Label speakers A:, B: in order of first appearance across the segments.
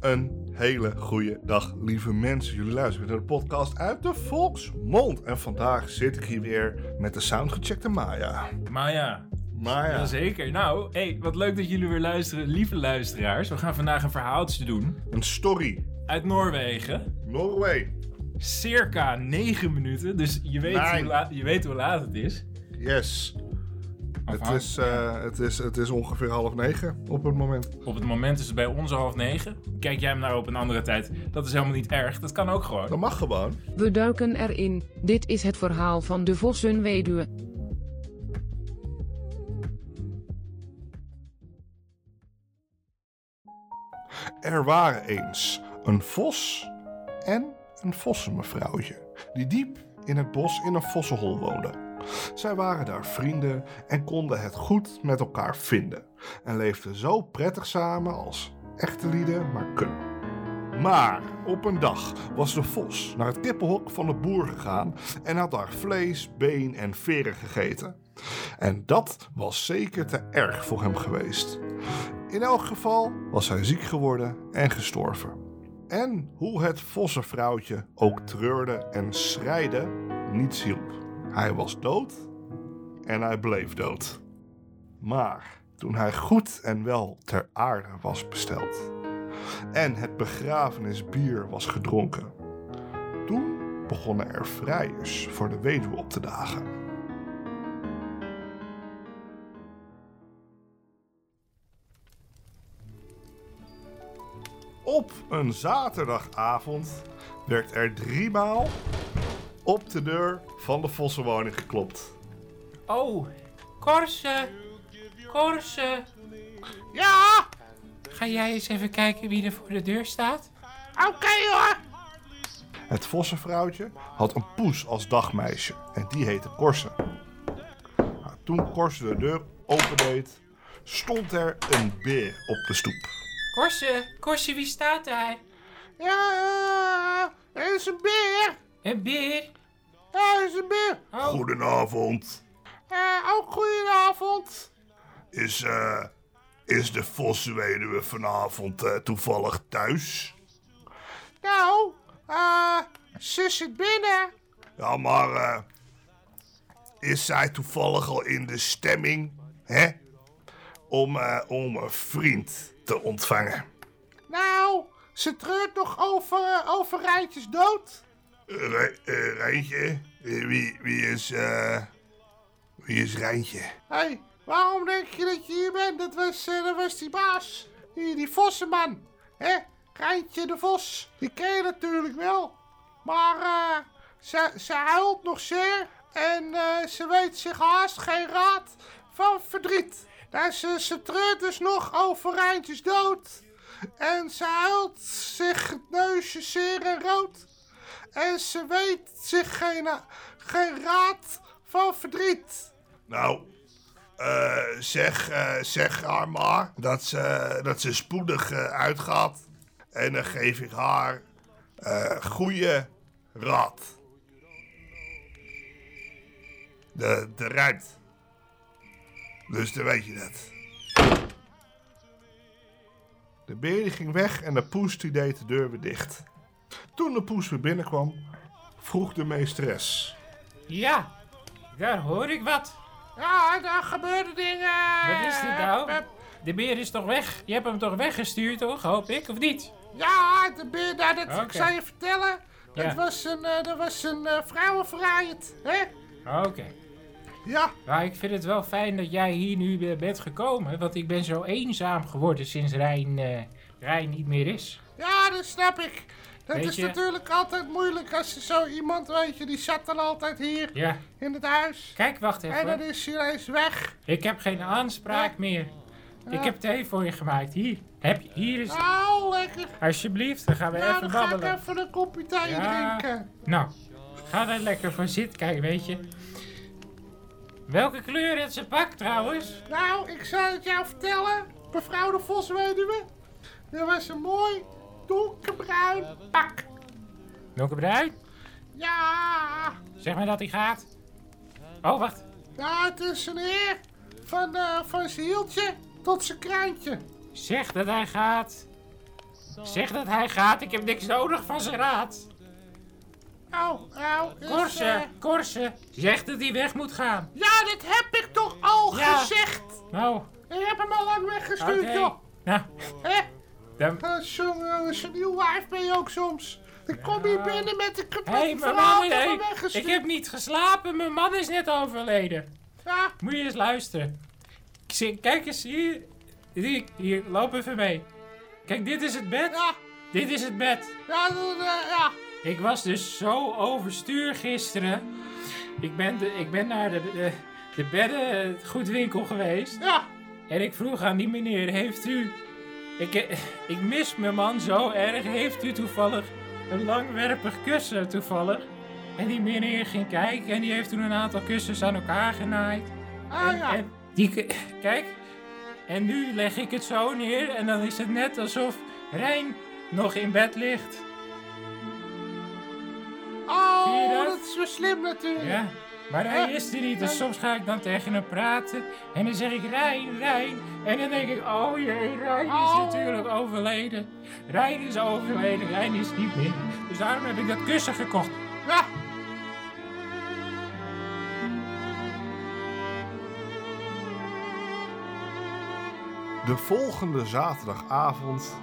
A: Een hele goede dag, lieve mensen. Jullie luisteren naar de podcast uit de Volksmond. En vandaag zit ik hier weer met de soundgecheckte Maya.
B: Maar ja,
A: Maya,
B: zeker. Nou, hey, wat leuk dat jullie weer luisteren, lieve luisteraars. We gaan vandaag een verhaaltje doen
A: een story.
B: uit Noorwegen.
A: Norway.
B: Circa 9 minuten, dus je weet,
A: Nee.
B: hoe, laat, je weet hoe laat het is.
A: Yes. Het
B: Afhan-
A: is, eh, het, is, het is ongeveer half negen op het moment.
B: Op het moment is het bij ons half negen. Kijk jij hem nou op een andere tijd, dat is helemaal niet erg. Dat kan ook
A: Dat
B: gewoon.
A: mag gewoon.
C: We duiken erin. Dit is het verhaal van de Vossenweduwe.
A: Er waren eens een vos en een vossenmevrouwtje, die diep in het bos in een vossenhol woonden. Zij waren daar vrienden en konden het goed met elkaar vinden en leefden zo prettig samen als echte lieden maar kunnen. Maar op een dag was de vos naar het kippenhok van de boer gegaan en had daar vlees, been en veren gegeten. En dat was zeker te erg voor hem geweest. In elk geval was hij ziek geworden en gestorven. En hoe het vossenvrouwtje ook treurde en schreide, niets hielp. Hij was dood en hij bleef dood. Maar toen hij goed en wel ter aarde was besteld en het begrafenisbier was gedronken, toen begonnen er vrijers voor de weduwe op te dagen. Op een zaterdagavond werd er driemaal op de deur van de Vossenwoning geklopt.
B: Oh, Korsen, Korsen.
A: Ja,
B: Ga jij eens even kijken wie er voor de deur staat?
A: oké hoor. Het Vossenvrouwtje had een poes als dagmeisje en die heette Korsen. Nou, toen Korsen de deur opendeed, stond er een beer op de stoep.
B: Korsen, Korsen, wie staat daar?
A: Ja, er is een beer.
B: Een beer.
A: Daar is een beer.
B: Oh.
A: Goedenavond. ook goedenavond. Is, eh, is de Vossenweduwe vanavond eh, toevallig thuis? Nou, eh, ze zit binnen. Ja, maar eh, is zij toevallig al in de stemming, hè? Om, eh, om een vriend te ontvangen. Nou, ze treurt nog over, eh, over Rijntjes dood. Rijntje? Eh, Wie, wie is... eh, wie is Rijntje? Hé, hey, waarom denk je dat je hier bent? Dat was, eh, dat was die baas. Die, die vossenman. Hè? Rijntje de Vos. Die ken je natuurlijk wel. Maar eh, ze, ze huilt nog zeer. En eh, ze weet zich haast geen raad van verdriet. Nou, ze, ze treurt dus nog over Rijntjes dood. En ze huilt zich het neusje zeer en rood. En ze weet zich geen, eh, geen raad van verdriet. Nou, eh, zeg, eh, zeg haar maar dat ze, dat ze spoedig eh, uitgaat. En dan geef ik haar eh goede raad. De, de ruit. Dus dan weet je dat. De beer die ging weg en de poes die deed de deur weer dicht. Toen de poes weer binnenkwam, vroeg de meesteres.
B: Ja, daar hoor ik wat.
A: Ja, daar gebeuren dingen.
B: Wat is dit nou? De beer is toch weg? Je hebt hem toch weggestuurd, toch? Hoop ik, of niet?
A: Ja, de beer, nou, dat, ik
B: Oké.
A: zou je vertellen.
B: Ja.
A: Dat was een, eh, dat was een eh vrouwenverraaierd, hè?
B: Oké.
A: Ja,
B: Nou, ik vind het wel fijn dat jij hier nu eh, bent gekomen, want ik ben zo eenzaam geworden sinds Rijn, eh, Rijn niet meer is.
A: ja, dat snap ik. Dat
B: Weet
A: is
B: je-
A: natuurlijk altijd moeilijk als er zo iemand, weet je, die zat dan altijd hier
B: Ja.
A: in het huis.
B: Kijk, wacht even.
A: En dan is hij ineens weg.
B: Ik heb geen aanspraak meer. Ik heb thee voor je gemaakt. Hier. Heb je, hier is...
A: Nou, lekker.
B: Alsjeblieft, dan gaan we
A: Nou,
B: even
A: dan ga ik
B: babbelen.
A: even een kopje thee
B: Ja.
A: drinken.
B: Nou, ga daar lekker voor zitten. Kijk, weet je. Welke kleur heeft zijn pak trouwens?
A: Nou, ik zal het jou vertellen, mevrouw de Vosweduwe. Dat was een mooi donkerbruin pak.
B: Welke bruin?
A: Ja.
B: Zeg maar dat hij gaat. Oh, wacht.
A: Ja, het is een heer. Van, eh, van zijn hieltje tot zijn kraantje.
B: Zeg dat hij gaat. Zeg dat hij gaat, ik heb niks nodig van zijn raad.
A: Nou, nou, dus, eh,
B: Korsen, Korsen, zeg dat hij weg moet gaan.
A: ja, dit heb ik toch al
B: Ja.
A: gezegd.
B: Nou,
A: Ik heb hem al lang
B: oké.
A: weggestuurd, joh.
B: Nou,
A: Hè?
B: dan...
A: Eh, Zo'n eh, zo'n nieuw waard ben je ook soms. Ik kom hier binnen met een
B: Hé,
A: kapot
B: hey, mijn
A: verhaal
B: man,
A: dat
B: hey,
A: me weggestuurd.
B: ik heb niet geslapen, mijn man is net overleden.
A: Ja,
B: Moet je eens luisteren. Ik zie- Kijk eens hier. Hier, hier, loop even mee. Kijk, dit is het bed.
A: ja,
B: Dit is het bed.
A: ja, dat, eh, ja.
B: Ik was dus zo overstuur gisteren. Ik ben, de, ik ben naar de, de, de bedden goed winkel geweest.
A: ja.
B: En ik vroeg aan die meneer, heeft u... Ik, eh, ik mis mijn man zo erg. Heeft u toevallig een langwerpig kussen toevallig? En die meneer ging kijken en die heeft toen een aantal kussens aan elkaar genaaid.
A: Ah, ja.
B: En die, k- kijk, en nu leg ik het zo neer en dan is het net alsof Rijn nog in bed ligt. Zie je
A: Oh,
B: dat?
A: dat is zo slim natuurlijk.
B: Ja, maar hij is er niet. Dus soms ga ik dan tegen hem praten en dan zeg ik Rijn, Rijn. En dan denk ik, oh jee, Rijn is
A: Oh.
B: natuurlijk overleden. Rijn is overleden, Rijn is niet meer. Dus daarom heb ik dat kussen gekocht.
A: Ja.
D: De volgende zaterdagavond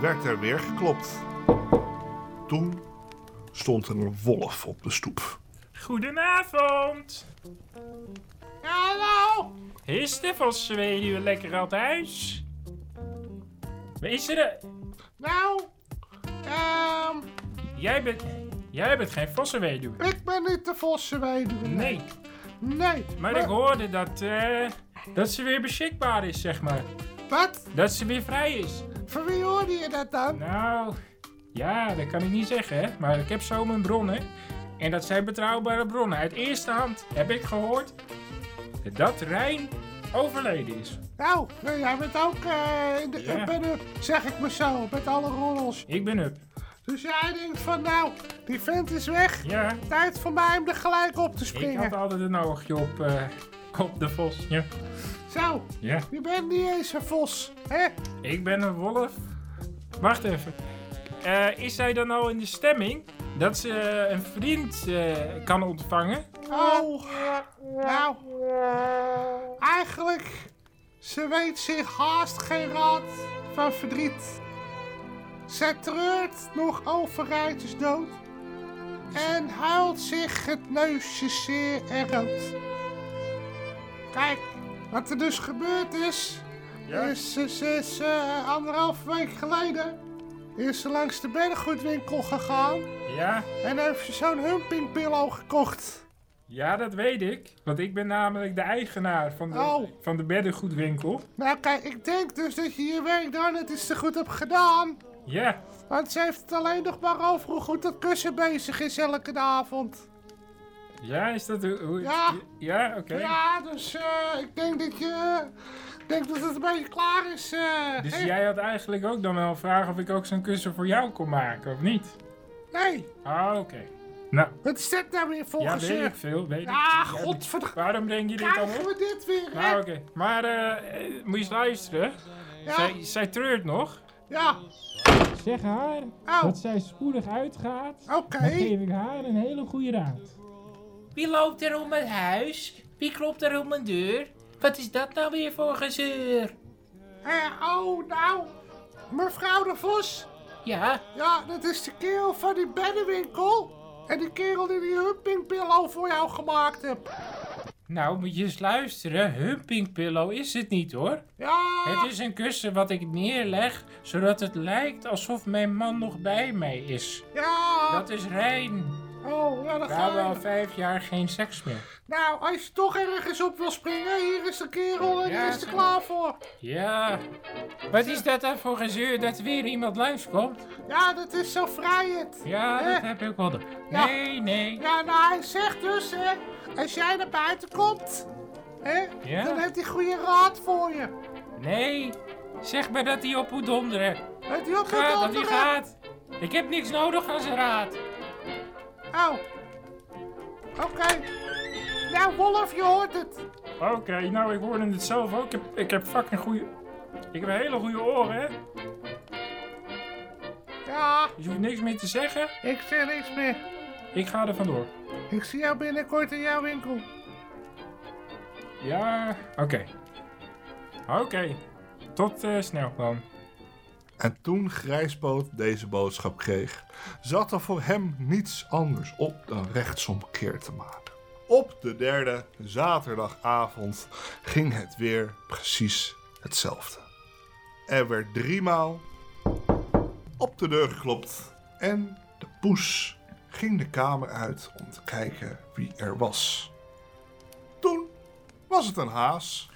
D: werd er weer geklopt. Toen stond er een wolf op de stoep.
B: Goedenavond.
A: Hallo.
B: Is de van Zweduwe lekker aan huis? Is er een-
A: Nou, ehm,
B: Jij bent, jij bent geen Vossenweduwe.
A: ik ben niet de Vossenweduwe.
B: Nee,
A: Nee.
B: maar ik hoorde dat, eh, dat ze weer beschikbaar is, zeg maar.
A: Wat?
B: Dat ze weer vrij is.
A: Van wie hoorde je dat dan?
B: Nou, ja, dat kan ik niet zeggen, hè. Maar ik heb zo mijn bronnen. En dat zijn betrouwbare bronnen. Uit eerste hand heb ik gehoord dat Rijn overleden is.
A: Nou, eh, jij bent ook eh, in de
B: Ja.
A: up en up, zeg ik me zo, met alle rollers.
B: Ik ben up.
A: Dus jij denkt van, nou, die vent is weg.
B: Ja,
A: Tijd voor mij om er gelijk op te
B: ik had
A: springen.
B: altijd een oogje op, eh, op de vos. Ja.
A: Zo,
B: ja,
A: je bent niet eens een vos, hè?
B: ik ben een wolf. Wacht even. Eh, is zij dan al in de stemming dat ze een vriend eh, kan ontvangen?
A: Oh, nou, eigenlijk, ze weet zich haast geen raad van verdriet. Zij treurt nog over Ruiters dood en huilt zich het neusje zeer en rood. Kijk, wat er dus gebeurd is, is, is, is eh, anderhalf week geleden is ze langs de beddengoedwinkel gegaan
B: Ja,
A: en heeft ze zo'n humpingpillow gekocht.
B: ja, dat weet ik. Want ik ben namelijk de eigenaar van de,
A: Oh.
B: van de beddengoedwinkel.
A: Nou kijk, ik denk dus dat je je werk daar net iets te goed hebt gedaan.
B: Ja,
A: Want ze heeft het alleen nog maar over hoe goed dat kussen bezig is elke avond.
B: ja, is dat hoe... hoe-
A: Ja.
B: Ja, oké.
A: Ja, dus eh, ik denk dat je... Ik denk dat het een beetje klaar is. eh.
B: Dus
A: Hè?
B: jij had eigenlijk ook dan wel vragen of ik ook zo'n kussen voor jou kon maken, of niet?
A: Nee,
B: Ah, oké. Nou,
A: wat is dit nou weer voor
B: ja, weet
A: gezeur?
B: ik veel, weet ik.
A: Ah,
B: Ja,
A: godverdomme.
B: Waarom denk je dit dan
A: Krijgen
B: op?
A: we dit weer, hè?
B: Nou, oké. Maar, eh, eh, moet je eens luisteren.
A: Ja,
B: Zij, zij treurt nog.
A: ja.
B: Zeg haar
A: Oh. dat
B: zij spoedig uitgaat.
A: oké.
B: ik haar een hele goede raad. Wie loopt er om het huis? Wie klopt er om mijn deur? Wat is dat nou weer voor gezeur?
A: Eh, oh, nou. Mevrouw de Vos,
B: Ja,
A: Ja, dat is de kerel van die beddenwinkel. En die kerel die die humpingpillow voor jou gemaakt heeft.
B: nou moet je eens luisteren. Humping pillow is het niet hoor.
A: Ja,
B: Het is een kussen wat ik neerleg, zodat het lijkt alsof mijn man nog bij mij is.
A: ja.
B: Dat is rein.
A: Oh, ja, dat
B: We
A: ga
B: hebben al
A: je.
B: vijf jaar geen seks meer.
A: Nou, als je toch ergens op wil springen, hier is de kerel en
B: Ja,
A: die is er
B: zo.
A: klaar voor.
B: Ja. Wat is dat dan voor gezeur dat weer iemand langskomt?
A: Ja, dat is zo vrijheid.
B: Ja,
A: Hè?
B: dat heb ik wel. door.
A: Eh. Ja.
B: Nee, nee.
A: Ja, nou, hij zegt dus, hè, als jij naar buiten komt, hè,
B: Ja.
A: dan heeft hij goede raad voor je.
B: Nee. Zeg maar dat hij op moet donderen.
A: Weet je ook
B: Gaat, dat
A: wat
B: hij gaat. Ik heb niks nodig van zijn raad.
A: Oh. Oké. Nou, Wolf, je hoort het.
B: Oké, nou ik hoorde het zelf ook. Ik heb, ik heb fucking goede. Ik heb hele goede oren, hè?
A: Ja,
B: Dus je hoeft niks meer te zeggen.
A: ik zeg niks meer.
B: Ik ga er vandoor.
A: Ik zie jou binnenkort in jouw winkel.
B: Ja, oké. Oké. Tot eh, snel dan.
D: En toen Grijspoot deze boodschap kreeg, zat er voor hem niets anders op dan rechtsomkeer te maken. Op de derde zaterdagavond ging het weer precies hetzelfde. Er werd driemaal op de deur geklopt en de poes ging de kamer uit om te kijken wie er was. Toen was het een haas.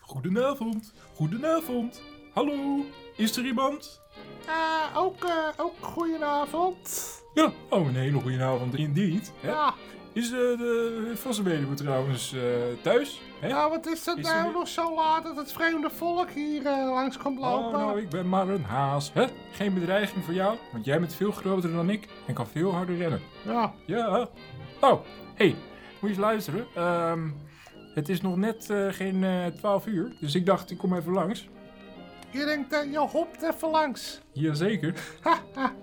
B: Goedenavond. Goedenavond. Hallo. Is er iemand?
A: Ah, ook, eh, ook goedenavond.
B: Ja. Oh, een hele goede avond. Indeed. Hè?
A: Ja,
B: Is eh, de vaste weduwe trouwens eh, thuis? Hè?
A: ja, wat is dat
B: Is er
A: nou
B: weer-
A: nog zo laat dat het vreemde volk hier eh, langs komt
B: Oh,
A: lopen?
B: nou, ik ben maar een haas. Hè? Geen bedreiging voor jou, want jij bent veel groter dan ik en kan veel harder rennen.
A: Ja,
B: Ja. Oh, hey, moet je eens luisteren. Ehm, het is nog net eh, geen eh 12 uur, dus ik dacht ik kom even langs.
A: je denkt dat je hopt even langs.
B: Jazeker.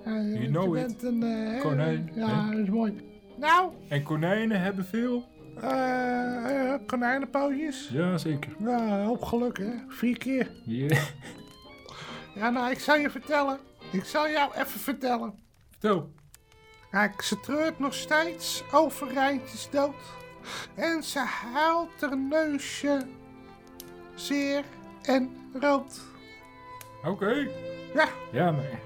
A: you
B: know
A: je
B: it.
A: bent een eh,
B: Konijn,
A: Ja,
B: hè?
A: dat is mooi. Nou,
B: En konijnen hebben veel?
A: eh, eh, konijnenpootjes.
B: Jazeker.
A: Ja, hoop geluk hè. Vier keer.
B: Ja.
A: Ja, nou, ik zal je vertellen. Ik zal jou even vertellen.
B: Vertel.
A: Kijk, ze treurt nog steeds. Overeind is dood. En ze huilt haar neusje zeer en rood.
B: Oké.
A: Ja,
B: Ja, maar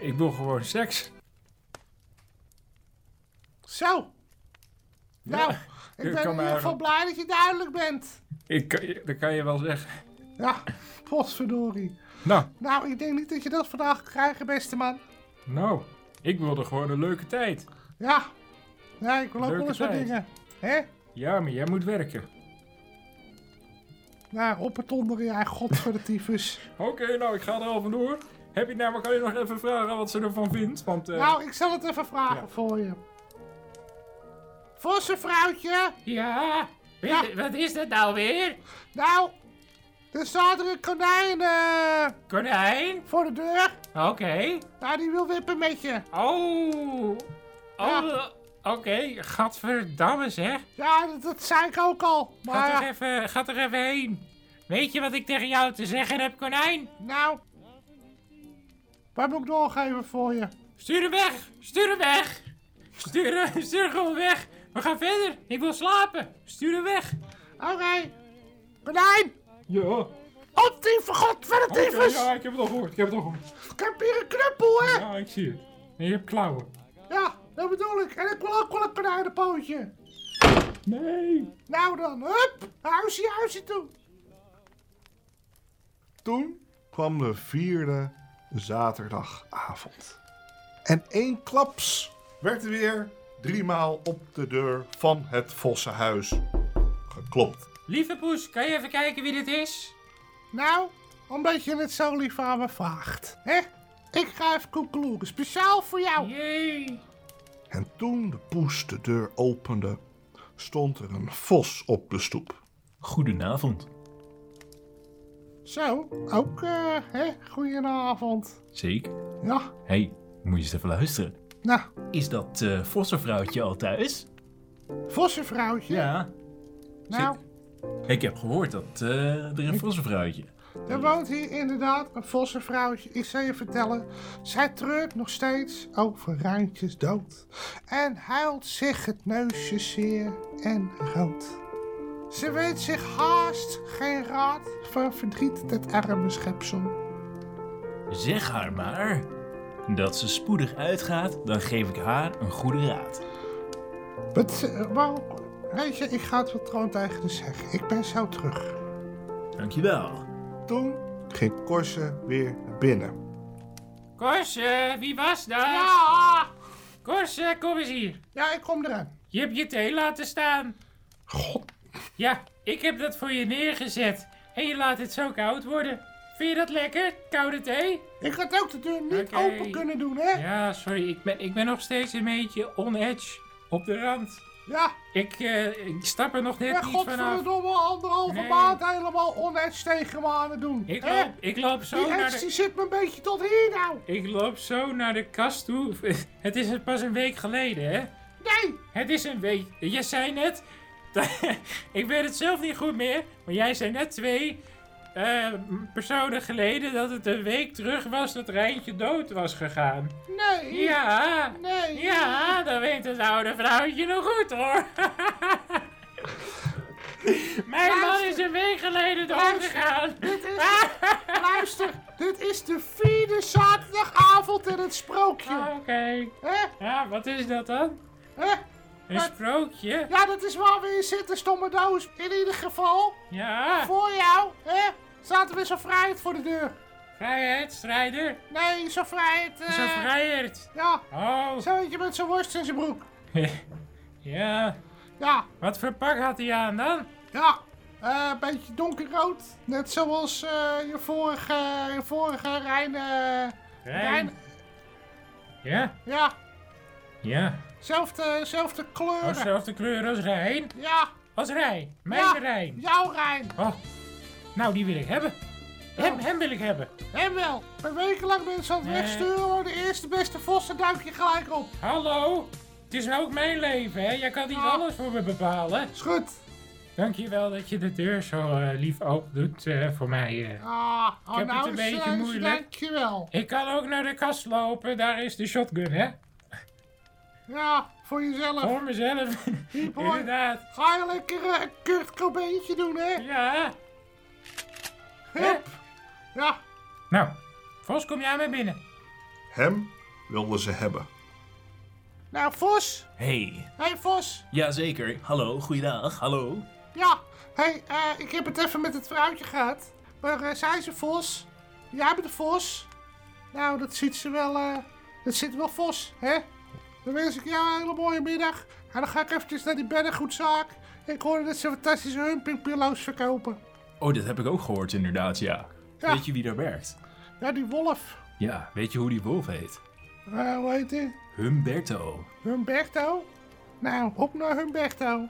B: ik wil gewoon seks.
A: zo. Nou,
B: Ja,
A: ik
B: je
A: ben
B: kan
A: in
B: maar-
A: ieder geval blij dat je duidelijk bent.
B: Ik, kan je- dat kan je wel zeggen.
A: Ja, potverdorie.
B: Nou,
A: Nou, ik denk niet dat je dat vandaag gaat krijgen, beste man.
B: nou, ik wilde gewoon een leuke tijd.
A: Ja, ja ik wil ook
B: Leuke
A: wel eens wat
B: tijd.
A: dingen. Hè?
B: Ja, maar jij moet werken.
A: Nou, op het onder, ja, god voor de tyfus.
B: Oké, nou, ik ga er al vandoor. Heb je nou, maar kan je nog even vragen wat ze ervan vindt? Want, eh,
A: Nou, ik zal het even vragen
B: Ja.
A: voor je. Vosse vrouwtje,
B: Ja,
A: Ja.
B: wat is dat nou weer?
A: nou, er staat er een konijn eh,
B: Konijn?
A: voor de deur.
B: Oké.
A: Nou, die wil wippen met je.
B: Oh. eh,
A: Ja.
B: Oké, gadverdamme zeg.
A: Ja, dat, dat zei ik ook al. Maar, eh,
B: Ga er, even, ga er even heen. Weet je wat ik tegen jou te zeggen heb, konijn?
A: nou, wat moet ik doorgeven voor je?
B: Stuur hem weg! Stuur hem weg! Stuur, hem- stuur hem gewoon weg! We gaan verder! Ik wil slapen! Stuur hem weg!
A: Oké, konijn,
B: Ja,
A: op die voor god voor de tyfus.
B: ik heb het al gehoord, ik heb het al gehoord.
A: Ik heb hier een knuppel, hè.
B: Ja, ik zie het. En je hebt klauwen.
A: Ja, dat bedoel ik. En ik wil ook wel een konijnenpootje.
B: Nee!
A: Nou dan, hup, huisje, huisje toe.
D: Toen kwam de vierde zaterdagavond. En één klaps werd er weer driemaal op de deur van het Vossenhuis geklopt.
B: Lieve poes, kan je even kijken wie dit is?
A: Nou, omdat je het zo lief aan me vraagt. Hè? Ik ga even koekeloeren, speciaal voor jou.
B: Jee!
D: En toen de poes de deur opende, stond er een vos op de stoep.
E: Goedenavond.
A: Zo, ook, eh, hè, goedenavond.
E: Zeker.
A: Ja,
E: hey, moet je eens even luisteren.
A: nou,
E: Is dat eh vossenvrouwtje al thuis?
A: vossenvrouwtje.
E: Ja.
A: nou,
E: Ik heb gehoord dat eh, er een vossenvrouwtje...
A: er woont hier inderdaad een vossenvrouwtje. Ik zal je vertellen, zij treurt nog steeds over Rijntjes dood. En huilt zich het neusje zeer en rood. Ze weet zich haast geen raad van verdriet, dat arme schepsel.
E: Zeg haar maar dat ze spoedig uitgaat, dan geef ik haar een goede raad.
A: Wat, eh, waarom? Weet je, ik ga het wel gewoon tegen de zeggen. Ik ben zo terug.
E: Dankjewel.
D: Toen ging Korse weer naar binnen.
B: Korsen, eh, wie was dat?
A: Ja!
B: Korsen, kom eens hier.
A: Ja, ik kom eraan.
B: Je hebt je thee laten staan.
D: God,
B: Ja, ik heb dat voor je neergezet. En je laat het zo koud worden. Vind je dat lekker? Koude thee?
A: Ik had ook de deur niet
B: Oké.
A: open kunnen doen, hè?
B: Ja, sorry, ik ben, ik ben nog steeds een beetje on edge. Op de rand.
A: Ja,
B: Ik, eh, ik stap er nog net
A: en
B: niet vanaf.
A: godverdomme anderhalve
B: Nee.
A: maand helemaal onhets tegen me aan het doen.
B: Ik
A: Hè?
B: loop, ik loop zo
A: Die
B: naar
A: hets
B: de...
A: die zit me een beetje tot hier nou.
B: Ik loop zo naar de kast toe. Het is pas een week geleden, hè?
A: Nee,
B: Het is een week. Je zei net. ik weet het zelf niet goed meer. Maar jij zei net twee eh, personen geleden dat het een week terug was dat Rijntje dood was gegaan.
A: nee,
B: Ja.
A: nee.
B: Ja, dat weet het oude vrouwtje nog goed hoor. Mijn man is een week geleden dood
A: Luister.
B: gegaan.
A: Dit is, luister, dit is de vierde zaterdagavond in het
B: Ah,
A: sprookje.
B: Oké.
A: Hè?
B: Ja, wat is dat dan?
A: Hè?
B: Een sprookje?
A: Ja, dat is waar we in zitten, stomme doos. In ieder geval,
B: Ja.
A: voor jou, hè, staat er weer zo'n vrijheid voor de deur.
B: Vrijheidsstrijder.
A: Nee, zo'n vrijheid, eh,
B: Zo vrijheid.
A: ja,
B: Oh.
A: zo eentje met zo'n worst in zijn broek.
B: Ja.
A: Ja,
B: Wat voor pak had hij aan dan?
A: ja, eh, een beetje donkerrood. Net zoals eh, je vorige, je vorige Rijn, eh, Rijn,
B: Ja.
A: ja,
B: Ja.
A: Oh, zelfde, zelfde kleuren.
B: Oh, zelfde kleur als Rijn.
A: Ja,
B: Als Rijn. Mijn
A: ja,
B: Rijn.
A: jouw Rijn.
B: Oh. Nou, die wil ik hebben. Hem, hem wil ik hebben.
A: En wel, een wekenlang mensen aan het
B: Nee.
A: wegsturen, maar de eerste beste vos en duik je gelijk op.
B: Hallo. Het is ook mijn leven, hè. Jij kan niet
A: Ah.
B: alles voor me bepalen.
A: Is goed.
B: Dankjewel dat je de deur zo eh, lief open doet eh, voor mij. eh.
A: Ah, oh,
B: heb
A: nou
B: het een
A: is-
B: beetje
A: is-
B: moeilijk.
A: Dankjewel.
B: Ik kan ook naar de kast lopen. Daar is de shotgun, hè.
A: Ja, voor jezelf.
B: Voor mezelf.
A: boy.
B: Inderdaad.
A: Ga je lekker eh, een Kurt Cobaintje doen, hè?
B: Ja.
A: Hup. Ja,
B: Nou. Vos, kom jij maar binnen.
D: Hem wilden ze hebben.
A: nou Vos.
E: Hey,
A: Hé hey, Vos.
E: jazeker. Hallo, goeiedag, hallo.
A: Ja, hé, hey, eh, ik heb het even met het vrouwtje gehad. Maar eh, zij is een Vos. Jij bent een Vos. Nou, dat ziet ze wel, eh, dat zit wel Vos, hè? Dan wens ik jou een hele mooie middag. En dan ga ik eventjes naar die beddengoedzaak. Ik hoorde dat ze fantastische humpingpillows verkopen.
E: Oh, dat heb ik ook gehoord inderdaad, ja.
A: Ja.
E: Weet je wie daar werkt?
A: Ja, die wolf.
E: Ja, weet je hoe die wolf heet?
A: Eh, hoe heet die?
E: Humberto.
A: Humberto? Nou, op naar Humberto.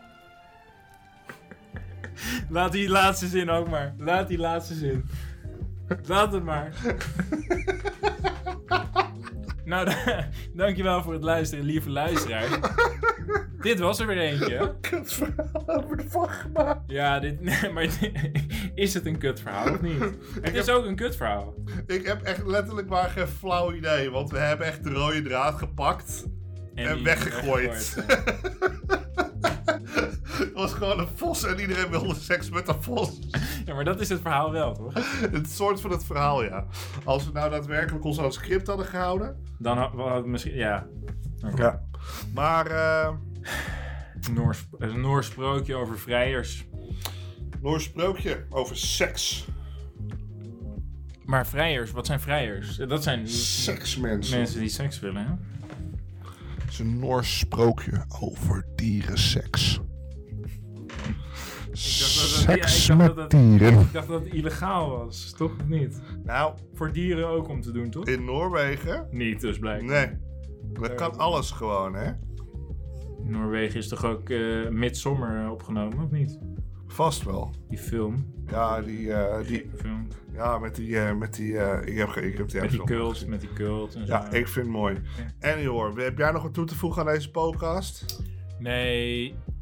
B: Laat die laatste zin ook maar. Laat die laatste zin. Laat het maar.
E: Nou, da- dankjewel voor het luisteren, lieve luisteraar. dit was er weer eentje.
A: Kut verhaal over de vachtbaan.
E: Ja, dit, nee, maar is het een kutverhaal of niet? Het is ook een kutverhaal.
D: Ik heb echt letterlijk maar geen flauw idee, want we hebben echt de rode draad gepakt en
E: die-
D: weggegooid. Het was gewoon een vos en iedereen wilde seks met een vos.
E: Ja, maar dat is het verhaal wel, toch?
D: Het soort van het verhaal, ja. Als we nou daadwerkelijk ons aan het script hadden gehouden.
E: Dan had had ik misschien, ja.
D: Ja. Maar eh
E: Noors, een Noors sprookje over vrijers.
D: Noors sprookje over seks.
E: Maar vrijers, wat zijn vrijers? Dat zijn
D: Seksmensen.
E: mensen die seks willen, hè?
D: Het is een Noors sprookje over dierenseks. Seks
E: ja, ik dacht
D: met
E: dat-
D: dieren.
E: Ik dacht dat het illegaal was, toch? Of niet?
D: Nou,
E: Voor dieren ook om te doen, toch?
D: in Noorwegen?
E: Niet, dus blijkbaar.
D: Nee. Dat kan alles gewoon, hè?
E: Noorwegen is toch ook eh Midsommar opgenomen, of niet?
D: Vast wel.
E: Die film.
D: Ja, die, eh, die,
E: film.
D: ja met die... eh, met die eh, ik heb, ge- ik heb die
E: Met die
D: episode
E: cult,
D: gezien.
E: met die cult
B: Dus,
E: en
D: Ja,
B: eh,
E: zo.
D: ik vind het mooi. Annie hoor, heb jij nog wat toe te voegen aan deze podcast?
E: Nee,